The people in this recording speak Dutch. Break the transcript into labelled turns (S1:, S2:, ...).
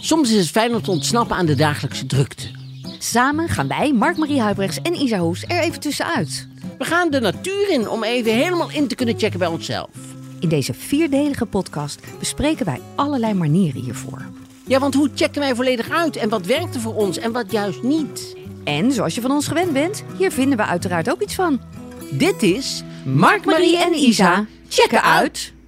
S1: Soms is het fijn om te ontsnappen aan de dagelijkse drukte.
S2: Samen gaan wij, Mark-Marie Huibrechts en Isa Hoes, er even tussenuit.
S1: We gaan de natuur in om even helemaal in te kunnen checken bij onszelf.
S2: In deze vierdelige podcast bespreken wij allerlei manieren hiervoor.
S1: Ja, want hoe checken wij volledig uit en wat werkte voor ons en wat juist niet?
S2: En zoals je van ons gewend bent, hier vinden we uiteraard ook iets van.
S1: Dit is
S2: Mark, Marie en Isa checken uit.